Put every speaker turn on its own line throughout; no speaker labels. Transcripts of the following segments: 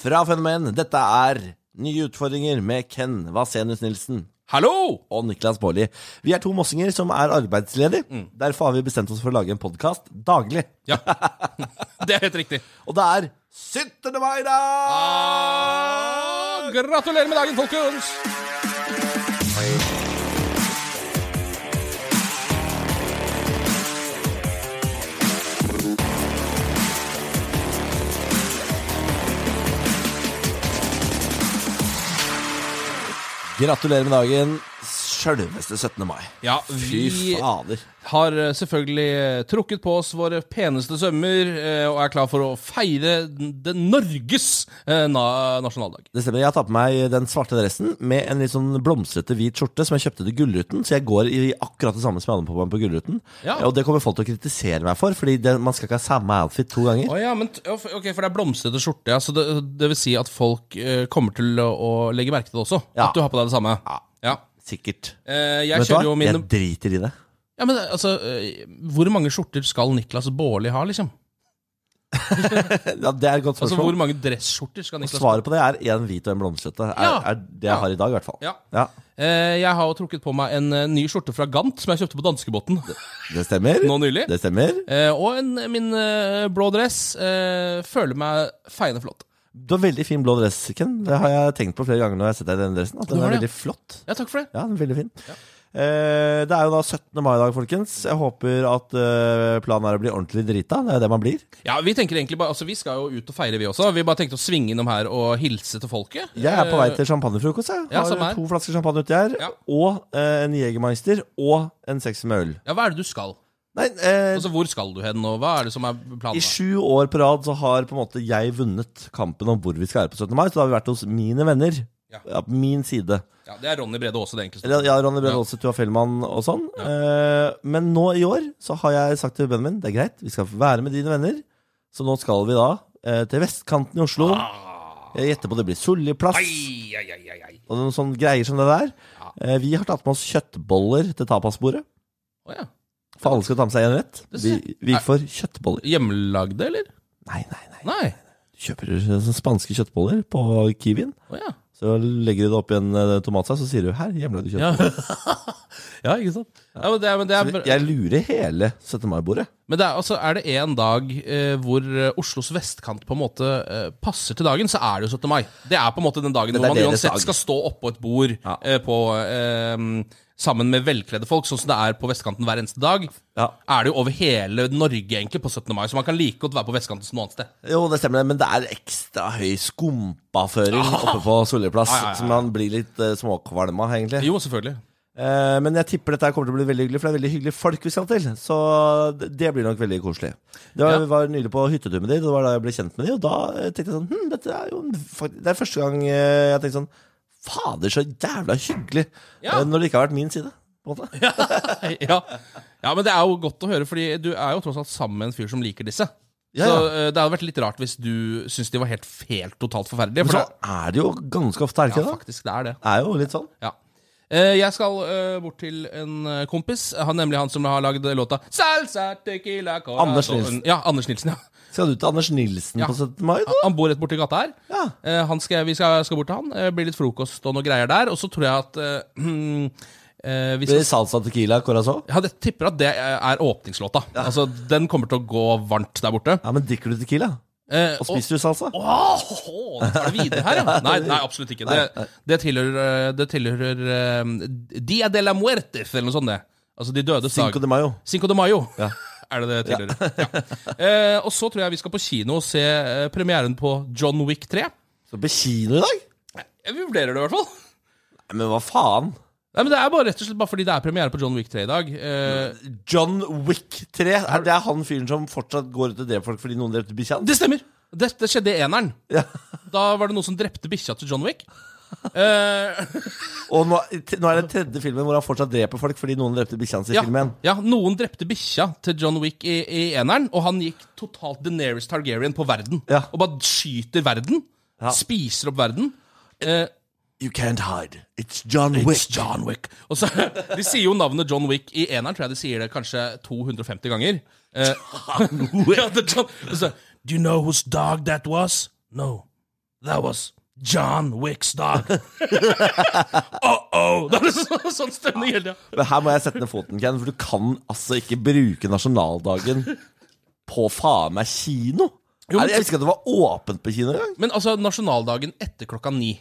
fra Fenomen. Dette er Nye utfordringer med Ken Vasenius Nilsen
Hallo!
og Niklas Baarli. Vi er to mossinger som er arbeidsledige.
Mm.
Derfor har vi bestemt oss for å lage en podkast daglig.
Ja, det er helt riktig.
Og det er 17. mai, da!
Ah, gratulerer med dagen, folkens!
Gratulerer med dagen, sjølveste 17. mai.
Ja,
Fy
vi
fader.
har eh, selvfølgelig eh, trukket på oss våre peneste sømmer eh, og er klar for å feire den den Norges eh, na nasjonaldag.
Det stemmer. Jeg har tatt på meg den svarte dressen med en litt sånn blomstrete hvit skjorte som jeg kjøpte til Gullruten. Så jeg går i akkurat det samme som jeg hadde på meg på Gullruten.
Ja.
Og det kommer folk til å kritisere meg for, fordi det, man skal ikke ha samme outfit to ganger.
Å ja, men t- ja, f- Ok, for det er blomstrete skjorte, ja. Så det, det vil si at folk eh, kommer til å, å legge merke til det også?
Ja.
At du har på deg det samme?
Ja.
ja.
Sikkert.
Eh, jeg
Vet du hva?
kjører jo mine
Jeg driter i det.
Ja, men altså, eh, Hvor mange skjorter skal Niklas Baarli ha, liksom?
Ja, det er et godt
Altså, Hvor
spørsmål.
mange dresskjorter skal Niklas
Svaret på det er én hvit og en blomstrete. Er,
Ja.
er det jeg har i dag, i hvert fall.
Ja.
Ja,
Eh, Jeg har jo trukket på meg en eh, ny skjorte fra Gant som jeg kjøpte på danskebåten
Det stemmer.
nå nylig.
Det stemmer.
Eh, og en, min eh, blå dress. Eh, føler meg feiende flott.
Du har veldig fin blå dress, Ken. Det har jeg tenkt på flere ganger når jeg har sett deg i denne dressen. At den
har
er
det, ja.
veldig flott.
Ja, takk for det.
Ja, den er veldig fin. Eh, det er jo da 17. mai i dag, folkens. Jeg håper at eh, planen er å bli ordentlig drita. Det er det man blir.
Ja, Vi tenker egentlig bare, altså vi skal jo ut og feire, vi også. Vi bare tenkte å svinge innom her og hilse til folket.
Jeg er på vei
Eh,
til champagnefrokost. Jeg
ja,
har
samme her.
to flasker champagne uti her.
Ja.
Og eh, en Jegermeister. Og en sekser med øl.
Ja, Hva er det du skal?
Nei, eh,
Altså, Hvor skal du hen, og hva er det som er planen?
i
da?
sju år på rad så har på en måte jeg vunnet kampen om hvor vi skal være på 17. mai. Så da har vi vært hos mine venner.
Ja.
Ja, på min side.
Ja, Det er Ronny Brede Aase, det enkleste.
Eller, ja, Ronny Brede
Ja.
Aase, Tua Fellmann og sånn. Eh, men nå i år så har jeg sagt til Benjamin det er greit, vi skal være med dine venner. Så nå skal vi da eh, til vestkanten i Oslo. Jeg gjetter på det blir Solliplass
Ah. Ai, ai, ai, ai, ai.
og noen sånne greier som det der. Eh, vi har tatt med oss kjøttboller til tapasbordet.
Å, ja.
For alle skal ta med seg én rett.
Det
Vi,
ser-
vi gikk for kjøttboller.
Hjemmelagde, eller?
Nei, nei, nei.
Nei.
Du kjøper sånne spanske kjøttboller på Kiwien.
Å ja.
Så legger du det oppi en eh, tomatsaus, så sier du 'her, hjemmelagde kjøtt'.
Ja. ja, ikke sant? Ja, men det er, men det er,
Jeg lurer hele 17. mai-bordet.
men det er, altså, er det en dag eh, hvor eh, Oslos vestkant på en måte eh, passer til dagen, så er det jo 17. mai. Det er på en måte den dagen
Dette
hvor
er
man
deres
uansett
dag.
skal stå oppå et bord
Ja.
eh, på, eh, sammen med velkledde folk, sånn som det er på vestkanten hver eneste dag.
Ja.
Er det jo over hele Norge egentlig på 17. mai, så man kan like godt være på vestkanten som noe annet sted.
Jo, det stemmer, det, men det er ekstra høy skumpaføring oppe på Solliplass.
Ah. ja, ja.
Så man blir litt uh, småkvalm av, egentlig.
Jo, selvfølgelig.
Eh, men jeg tipper dette her kommer til å bli veldig hyggelig, for det er veldig hyggelige folk vi skal til. Så det det blir nok veldig koselig. Det var,
Ja.
var nylig på hyttetur med de, det var da jeg ble kjent med de, og da eh, tenkte jeg sånn hm, dette er jo en fak- Det er første gang eh, jeg tenkte sånn Fader, så jævla hyggelig!
Ja.
Eh, når det ikke har vært min side. På en måte.
ja. ja, men det er jo godt å høre, Fordi du er jo tross alt sammen med en fyr som liker disse.
Ja,
Så
ja.
eh, det hadde vært litt rart hvis du syntes de var helt, helt totalt forferdelige.
Men
For
så
det,
er det jo ganske ofte, er det
ja,
ikke det?
faktisk, det er det.
Det er jo litt sånn.
Ja. Eh, Jeg skal eh, bort til en eh, kompis, han, nemlig han som har lagd låta Salsa tequila corazón.
Anders Nilsen.
Ja, Anders Nilsen, ja.
Skal du til Anders Nilsen
Ja.
på 17. mai, da?
Han bor rett borti gata her.
Ja.
Eh, Han skal, vi skal, skal bort til han. eh, Blir litt frokost og noe greier der. Og så tror jeg at eh, eh, vi skal
Blir det salsa tequila corazón?
Ja, jeg tipper at det er åpningslåta. Altså, Den kommer til å gå varmt der borte.
Ja, men drikker du tequila?
Eh,
Og spiser du salsa?
Åh, nå tar det videre her, ja. Nei, nei absolutt ikke. Det, det tilhører, eh, det tilhører eh, Dia de la muerte, eller noe sånt. det Altså de dødes dag.
Cinco de Mayo.
Cinco de Mayo.
Ja.
Er det det tilhører? Ja. Eh, og så tror jeg vi skal på kino og se eh, premieren på John Wick 3.
Så på kino i dag?
Jeg vurderer det, i hvert fall.
Nei, Men hva faen?
Nei, men Det er bare rett og slett bare fordi det er premiere på John Wick 3 i dag. Eh,
John Wick 3. Er det er han fyren som fortsatt går ut og dreper folk fordi noen drepte bikkja? hans?
det stemmer! Det, det skjedde i eneren.
Ja.
Da var det noen som drepte bikkja til John Wick. Eh,
Og nå, t- nå er det tredje filmen hvor han fortsatt dreper folk fordi noen drepte bikkja hans i
ja,
filmen.
ja, noen drepte bikkja til John Wick i, i eneren, og han gikk totalt Daenerys Targaryen på verden.
Ja.
Og bare skyter verden. Spiser opp verden. Eh,
You can't hide. It's John Wick.
It's John Wick. Og så, de sier jo navnet John Wick i eneren, tror jeg de sier det kanskje 250 ganger. Eh, ja, det er John, og så, Do you know whose dog that was? No. That was John Wicks dog. Oh-oh! Det er så, sånn stemning hele tida.
Men her må jeg sette ned foten, Ken, for du kan altså ikke bruke nasjonaldagen på faen meg kino.
Jo, men-
Nei, jeg visste ikke at det var åpent på kino engang.
Men altså, nasjonaldagen etter klokka ni.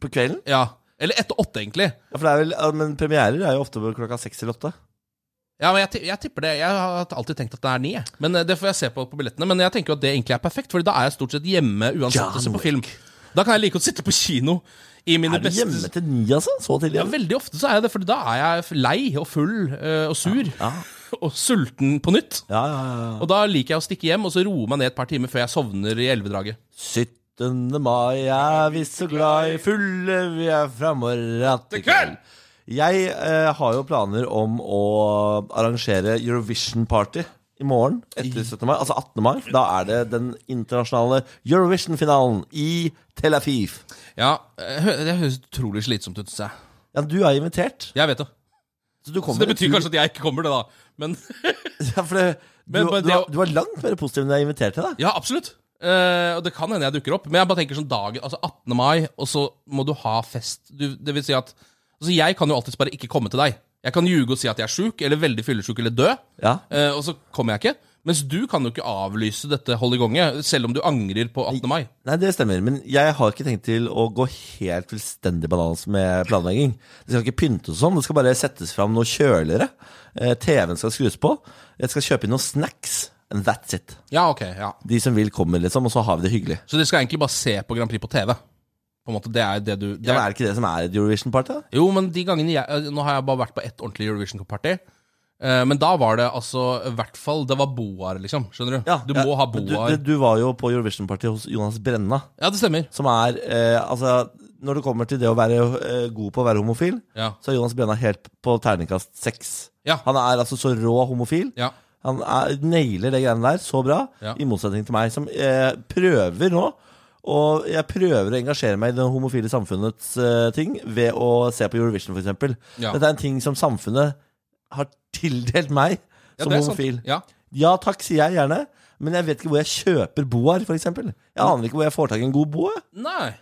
På kvelden.
Ja. Eller etter åtte, egentlig.
Ja, for det er vel, ja, men premierer er jo ofte på klokka seks eller åtte.
Ja, men jeg, ti- jeg tipper det. Jeg har alltid tenkt at det er ni. jeg. Men eh, det får jeg se på på billettene. Men jeg tenker jo at det egentlig er perfekt, Fordi da er jeg stort sett hjemme uansett å se på film. Da kan jeg like godt sitte på kino i mine
Er du
beste
hjemme til ni, altså? Så tidlig?
Ja, Veldig ofte så er jeg det, for da er jeg f- lei og full eh, og sur. Og sulten på nytt.
Ja, ja, ja.
Og da liker jeg å stikke hjem og så roe meg ned et par timer før jeg sovner i elvedraget.
17. mai er vi så glad i fulle, vi er framme og ratt i kveld. Jeg eh, har jo planer om å arrangere Eurovision-party i morgen. Etter 17. mai, altså 18. mai. for Da er det den internasjonale Eurovision-finalen i Tel Aviv.
Ja, eh, hø- Det høres utrolig slitsomt ut. synes Jeg.
Ja, du er invitert.
jeg vet det.
Så du
Så
kommer
det betyr kanskje at jeg ikke kommer, det, da. Men
ja, for det, du,
Men bare
du,
det
er-
å-
du er langt mer positiv enn jeg er invitert til, da.
Ja, absolutt. Eh, og det kan hende jeg dukker opp. Men jeg bare tenker sånn dagen, altså 18. mai, og så må du ha fest. Du, det vil si at Altså, jeg kan jo alltids bare ikke komme til deg. Jeg kan ljuge og si at jeg er sjuk, eller veldig fyllesyk eller død,
Ja.
eh, og så kommer jeg ikke. Mens du kan jo ikke avlyse dette hold i gange, selv om du angrer på 18. mai.
Nei, det stemmer. Men jeg har ikke tenkt til å gå helt fullstendig bananas med planlegging. Det skal ikke pyntes og sånn. Det skal bare settes fram noe kjøligere. Eh, TV-en skal skrus på. Jeg skal kjøpe inn noen snacks. And that's it.
Ja, ok, ja.
De som vil, kommer, liksom. Og så har vi det hyggelig.
Så dere skal egentlig bare se på Grand Prix på TV? På en måte, det er det du det
Ja, men
er,
er det ikke det som er et Eurovision-party? da?
Jo, men de gangene jeg eh, Nå har jeg bare vært på ett ordentlig Eurovision-party. Eh, men da var det altså i hvert fall Det var boar, liksom. Skjønner du?
Ja,
du
ja.
må ha
Men du,
boar.
du, du var jo på Eurovision-party hos Jonas Brenna,
Ja, det stemmer.
som er eh, Altså, når det kommer til det å være eh, god på å være homofil,
Ja.
så er Jonas Brenna helt på terningkast seks.
Ja.
Han er altså så rå homofil.
ja.
Han er, nailer det greiene der så bra,
Ja.
i motsetning til meg, som eh, prøver nå. Og jeg prøver å engasjere meg i det homofile samfunnets eh, ting ved å se på Eurovision, f.eks.
Ja.
Dette er en ting som samfunnet har tildelt meg
Ja,
som
det er sant.
homofil.
Ja.
Ja takk, sier jeg gjerne, men jeg vet ikke hvor jeg kjøper boar, f.eks. Jeg aner ikke hvor jeg får tak i en god boa.
Nei.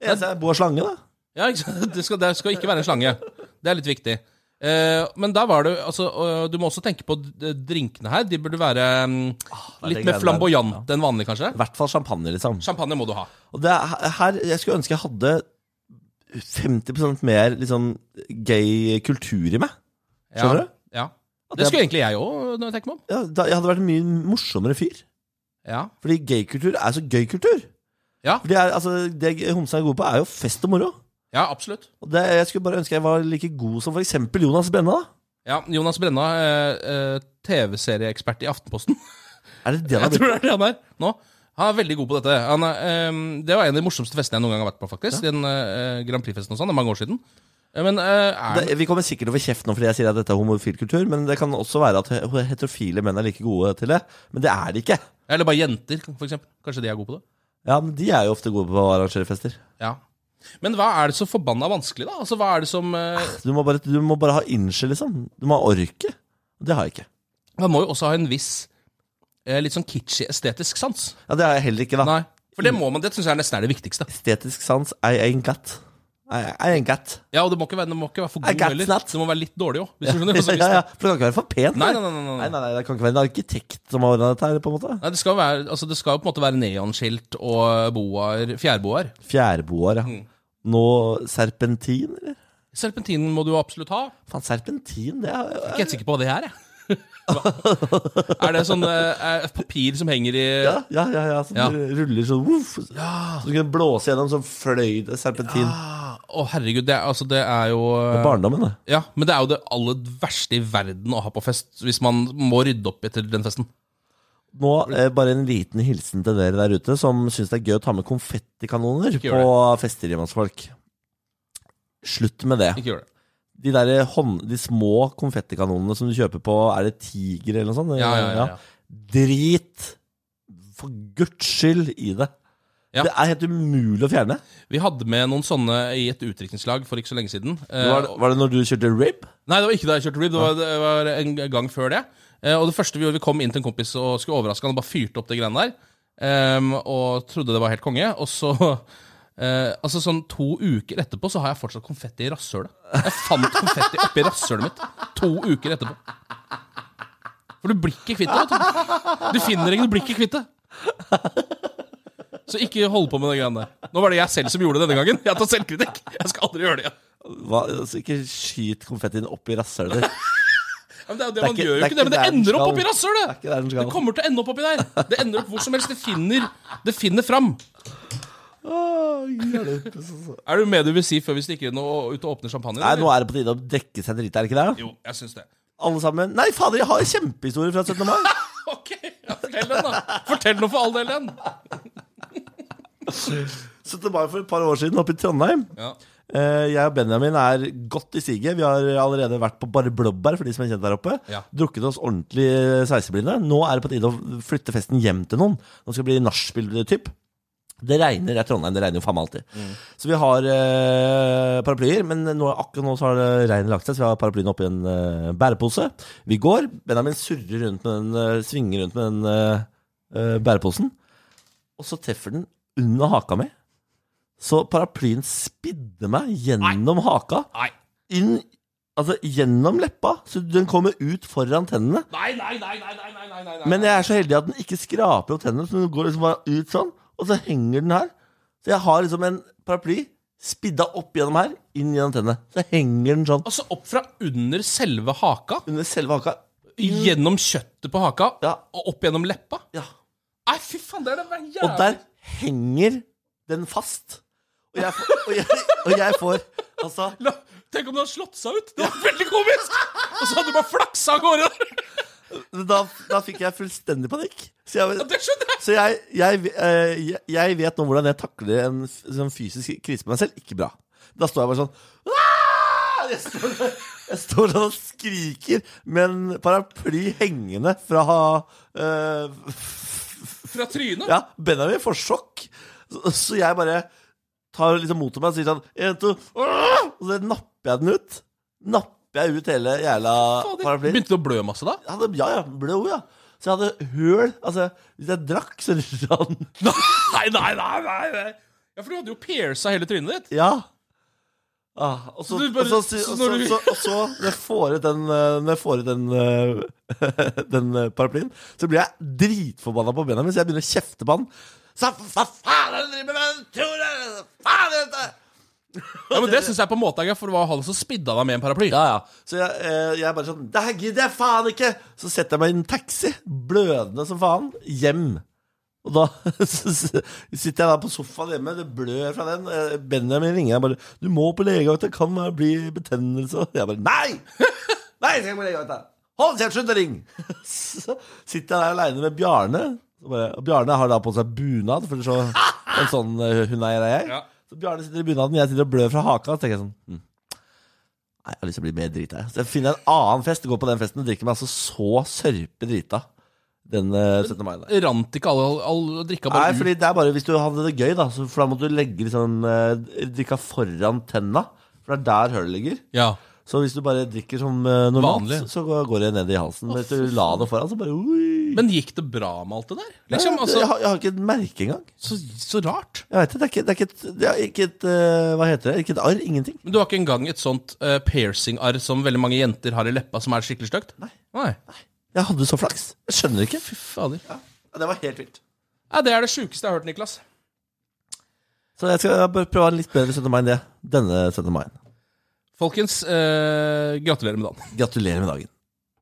Jeg ser boa slange, da.
Ja, ikke sant? det, skal, det skal ikke være en slange. Det er litt viktig. Eh, men der var det altså, eh, Du må også tenke på d- drinkene her. De burde være mm,
Ah, det er
litt
det
mer
greiene der.
flamboyante enn vanlig, kanskje.
I hvert fall champagne, liksom.
Champagne må du ha.
Og det er her jeg skulle ønske jeg hadde 50 mer liksom, gay kultur i meg.
Ja.
Skjønner du?
Ja.
At
Det
jeg-
skulle egentlig jeg òg, når jeg tenker meg om.
ja, da, Jeg hadde vært en mye morsommere fyr.
Ja.
Fordi gaykultur er så gøy kultur.
Ja.
For det er, altså, det homsene er gode på, er jo fest og moro.
ja, absolutt.
Og det, Jeg skulle bare ønske jeg var like god som f.eks. Jonas Brenna. da
Ja, Jonas Brenna, eh, eh, TV-serieekspert i Aftenposten.
Er det det han har
Jeg tror
blitt?
det er det han er nå. Han er veldig god på dette. Han er, ehm, det var en av de morsomste festene jeg noen gang har vært på, faktisk. Den eh, Grand Prix-festen og sånn, det er mange år siden. Eh, Men eh, er
Det, vi kommer sikkert over kjeft nå fordi jeg sier at dette er homofil kultur, men det kan også være at he- heterofile menn er like gode til det. Men det er de ikke.
Eller bare jenter, for eksempel. Kanskje de er gode på det.
Ja, men De er jo ofte gode på å arrangere fester.
Ja. Men hva er det så forbanna vanskelig, da? Altså, hva er det som eh,
Du må bare, du må bare ha innskyld, liksom. Du må ha orket. Det har jeg ikke.
Man må jo også ha en viss eh, litt sånn kitschy estetisk sans.
Ja, Det har jeg heller ikke, da.
Nei. For det må man, det syns jeg nesten er det viktigste.
Estetisk sans, I ain't got. I, I ain't got.
Ja, og det må ikke være, det må ikke være for
I
god
got
heller.
that.
Det må være litt dårlig òg, hvis du skjønner. Altså, hvis
ja,
det-
ja, for det kan ikke være for pent.
Nei,
det.
nei, nei, nei, nei.
Nei, nei, nei, det kan ikke være en arkitekt som har ordna dette her, på en måte.
Nei, det skal jo være, altså, det skal jo på en måte være neonskilt og boar, fjærboar.
Fjærboer, ja.
Mm.
Nå serpentin, eller?
Serpentinen må du jo absolutt ha.
Faen, serpentin, det er
Ikke helt sikker på hva det er, jeg. Hva? er det sånn eh, eh, papir som henger i
Ja, ja, ja. ja som
Ja.
ruller sånn voff. Så du kan blåse gjennom sånn fløy det serpentin.
Ah, Å, herregud, det, er- altså, det er jo eh,
Barndommen, det.
Ja, men det er jo det aller verste i verden å ha på fest hvis man må rydde opp etter den festen.
Nå eh, bare en liten hilsen til dere der ute som syns det er gøy å ta med konfettikanoner
Ikke
på
gjør
fester hjemme hos folk. Slutt med det.
Ikke gjør det.
De, der hånd, de små konfettikanonene som du kjøper på Er det Tiger eller noe sånt?
Ja, ja, ja, ja.
Drit for guds skyld i det.
Ja.
Det er helt umulig å fjerne.
Vi hadde med noen sånne i et utdrikningslag for ikke så lenge siden. Eh,
Var det, var det når du kjørte rib?
Nei, det var ikke da jeg kjørte rib, det var, det var en gang før det. Eh, og det første vi gjorde, vi kom inn til en kompis og skulle overraske han og bare fyrte opp det greiene der. Ehm, og trodde det var helt konge. Og så Eh, altså sånn To uker etterpå så har jeg fortsatt konfetti i rasshølet. Jeg fant konfetti oppi rasshølet mitt to uker etterpå. For du blir ikke kvitt det. vet Du Du finner ikke, du blir ikke kvitt det. Så ikke hold på med det greiene der. Nå var det jeg selv som gjorde det denne gangen. Jeg tar selvkritikk. Jeg skal aldri gjøre det igjen.
Hva, altså, ikke skyt konfettien opp i rasshølet ditt.
Ja, Men det er jo det,
er
man
ikke- det
gjør jo
er
ikke
ikke
det, men det
der den
ender opp
skal.
oppi rasshølet!
Det er ikke der den skal.
Det kommer til å ende opp oppi der. Det ender opp hvor som helst. Det finner, det finner fram. Er det med du vil si før vi stikker inn og ut og åpner champagne?
altså. Nei,
eller?
nå er det på tide å dekke seg dritt, er det ikke det?
Jo, jeg syns det.
Alle sammen. Nei, fader, jeg har kjempehistorier fra 17. mai!
Ok, ja, fortell den, da. Fortell noe for all del, den.
17. mai for et par år siden oppe i Trondheim.
Ja.
Eh, Jeg og Benjamin er godt i siget. Vi har allerede vært på bare blåbær, for de som er kjent der oppe.
Ja.
Drukket oss ordentlig eh, sveiseblinde. Nå er det på tide å flytte festen hjem til noen. Nå skal det bli nachspiel-typ. Det regner, det er Trondheim, det regner jo faen meg alltid. Så vi har eh, paraplyer, men nå, akkurat nå så har det regnet lagt seg, så vi har paraplyene oppi en eh, bærepose. Vi går, Benjamin surrer rundt med den, eh, svinger rundt med den eh, eh, bæreposen, og så treffer den under haka mi. Så paraplyen spidde meg gjennom haka,
Nei.
inn, altså gjennom leppa, så den kommer ut foran tennene.
Nei, nei, nei, nei, nei, nei, nei, nei.
Men jeg er så heldig at den ikke skraper opp tennene, så den går liksom bare ut sånn, og så henger den her. Så jeg har liksom en paraply spidda opp gjennom her, inn gjennom tennene. Så henger den sånn
Altså opp fra under selve haka,
under selve haka.
gjennom kjøttet på haka,
Mm. Ja.
og opp gjennom leppa.
Ja.
Nei, fy faen, det er det jævlig
Og der henger den fast. Og jeg, får- og jeg, og jeg får Altså
La- Tenk om det hadde slått seg ut! Det var veldig komisk! Og så hadde du bare flaksa av gårde!
Da, da fikk jeg fullstendig panikk. Så jeg,
Det skjønner jeg!
så jeg, jeg, eh, jeg, jeg vet nå hvordan jeg takler en f- sånn fysisk krise på meg selv. Ikke bra. Da står jeg bare sånn «Aah!» jeg står, jeg står sånn og skriker med en paraply hengende fra eh,
Fra trynet.
Ja, Benjamin får sjokk. Så, så jeg bare tar liksom mot meg og sier sånn En, to «Aah!» Og så napper jeg den ut. Napper jeg ut hele jævla
Fader.
paraplyen.
Begynte du å blø masse da?
Jeg hadde, ja, ja, blod, ja. Så jeg hadde høl. Altså, hvis jeg drakk, så rant
Nei, nei, nei, nei, nei. Ja, For du hadde jo pierca hele trynet ditt.
Ja. Ah, og så,
Så du
og
bare-
så,
så
og så,
når du-
så, og så når jeg får ut den, eh, når jeg får ut den, eh, den eh, paraplyen, så blir jeg dritforbanna på Benjamin, så jeg begynner å kjefte på han. Så, hva faen er det du driver med? Tror dere- Faen er det?
Ja, men Det syns jeg på en måte er gøy, for det var han som spidda deg med en paraply.
Ja, ja. Så jeg, eh, jeg er bare sånn Det her gidder jeg faen ikke! Så setter jeg meg i en taxi, blødende som faen, hjem. Og da så sitter jeg da på sofaen hjemme, det blør fra den. eh, Benjamin ringer jeg bare 'Du må på legevakta, det kan være- bli betennelse.' Og jeg bare 'Nei! Nei, jeg skal ikke på legevakta! Hold kjeft, slutt å ringe!' Så sitter jeg der aleine med Bjarne. Og bare, og Bjarne har da på seg bunad, for så en sånn eh, hundeeier er jeg.
Ja.
Så Bjarne sitter i bunaden, jeg sitter og blør fra haka. Så tenker jeg sånn hm. Nei, jeg har lyst til å bli mer drita. jeg. Så jeg finner en annen fest, går på den festen og drikker meg altså så sørpe drita den eh, 17. mai. Der.
Rant ikke alle all, drikka
Nei,
bare ut?
fordi det er bare hvis du hadde det gøy, da. Så, for da måtte du legge liksom eh, drikka foran tenna. For det er der hølet ligger.
Ja.
Så hvis du bare drikker som eh, normalt,
Vanlig.
så går går det ned i halsen. Men hvis du la det foran, så bare ui.
Men gikk det bra med alt det der?
Nei,
Liksom,
jeg,
altså,
har, jeg har ikke et merke engang.
så, så rart.
Jeg vet det, det er ikke, det er ikke et, det er ikke et eh, Hva heter det? Ikke et arr? Ingenting.
Men du har ikke engang et sånt eh, piercing-arr som veldig mange jenter har i leppa, som er skikkelig stygt?
Nei.
Nei.
Jeg hadde så flaks. Jeg skjønner ikke.
Fy fader.
Ja, det var helt vilt.
Nei, det er det sjukeste jeg har hørt, Niklas.
Så jeg skal bare prøve å ha en litt bedre 17. mai enn det. Denne 17. mai.
Folkens, eh, gratulerer med dagen.
Gratulerer med dagen.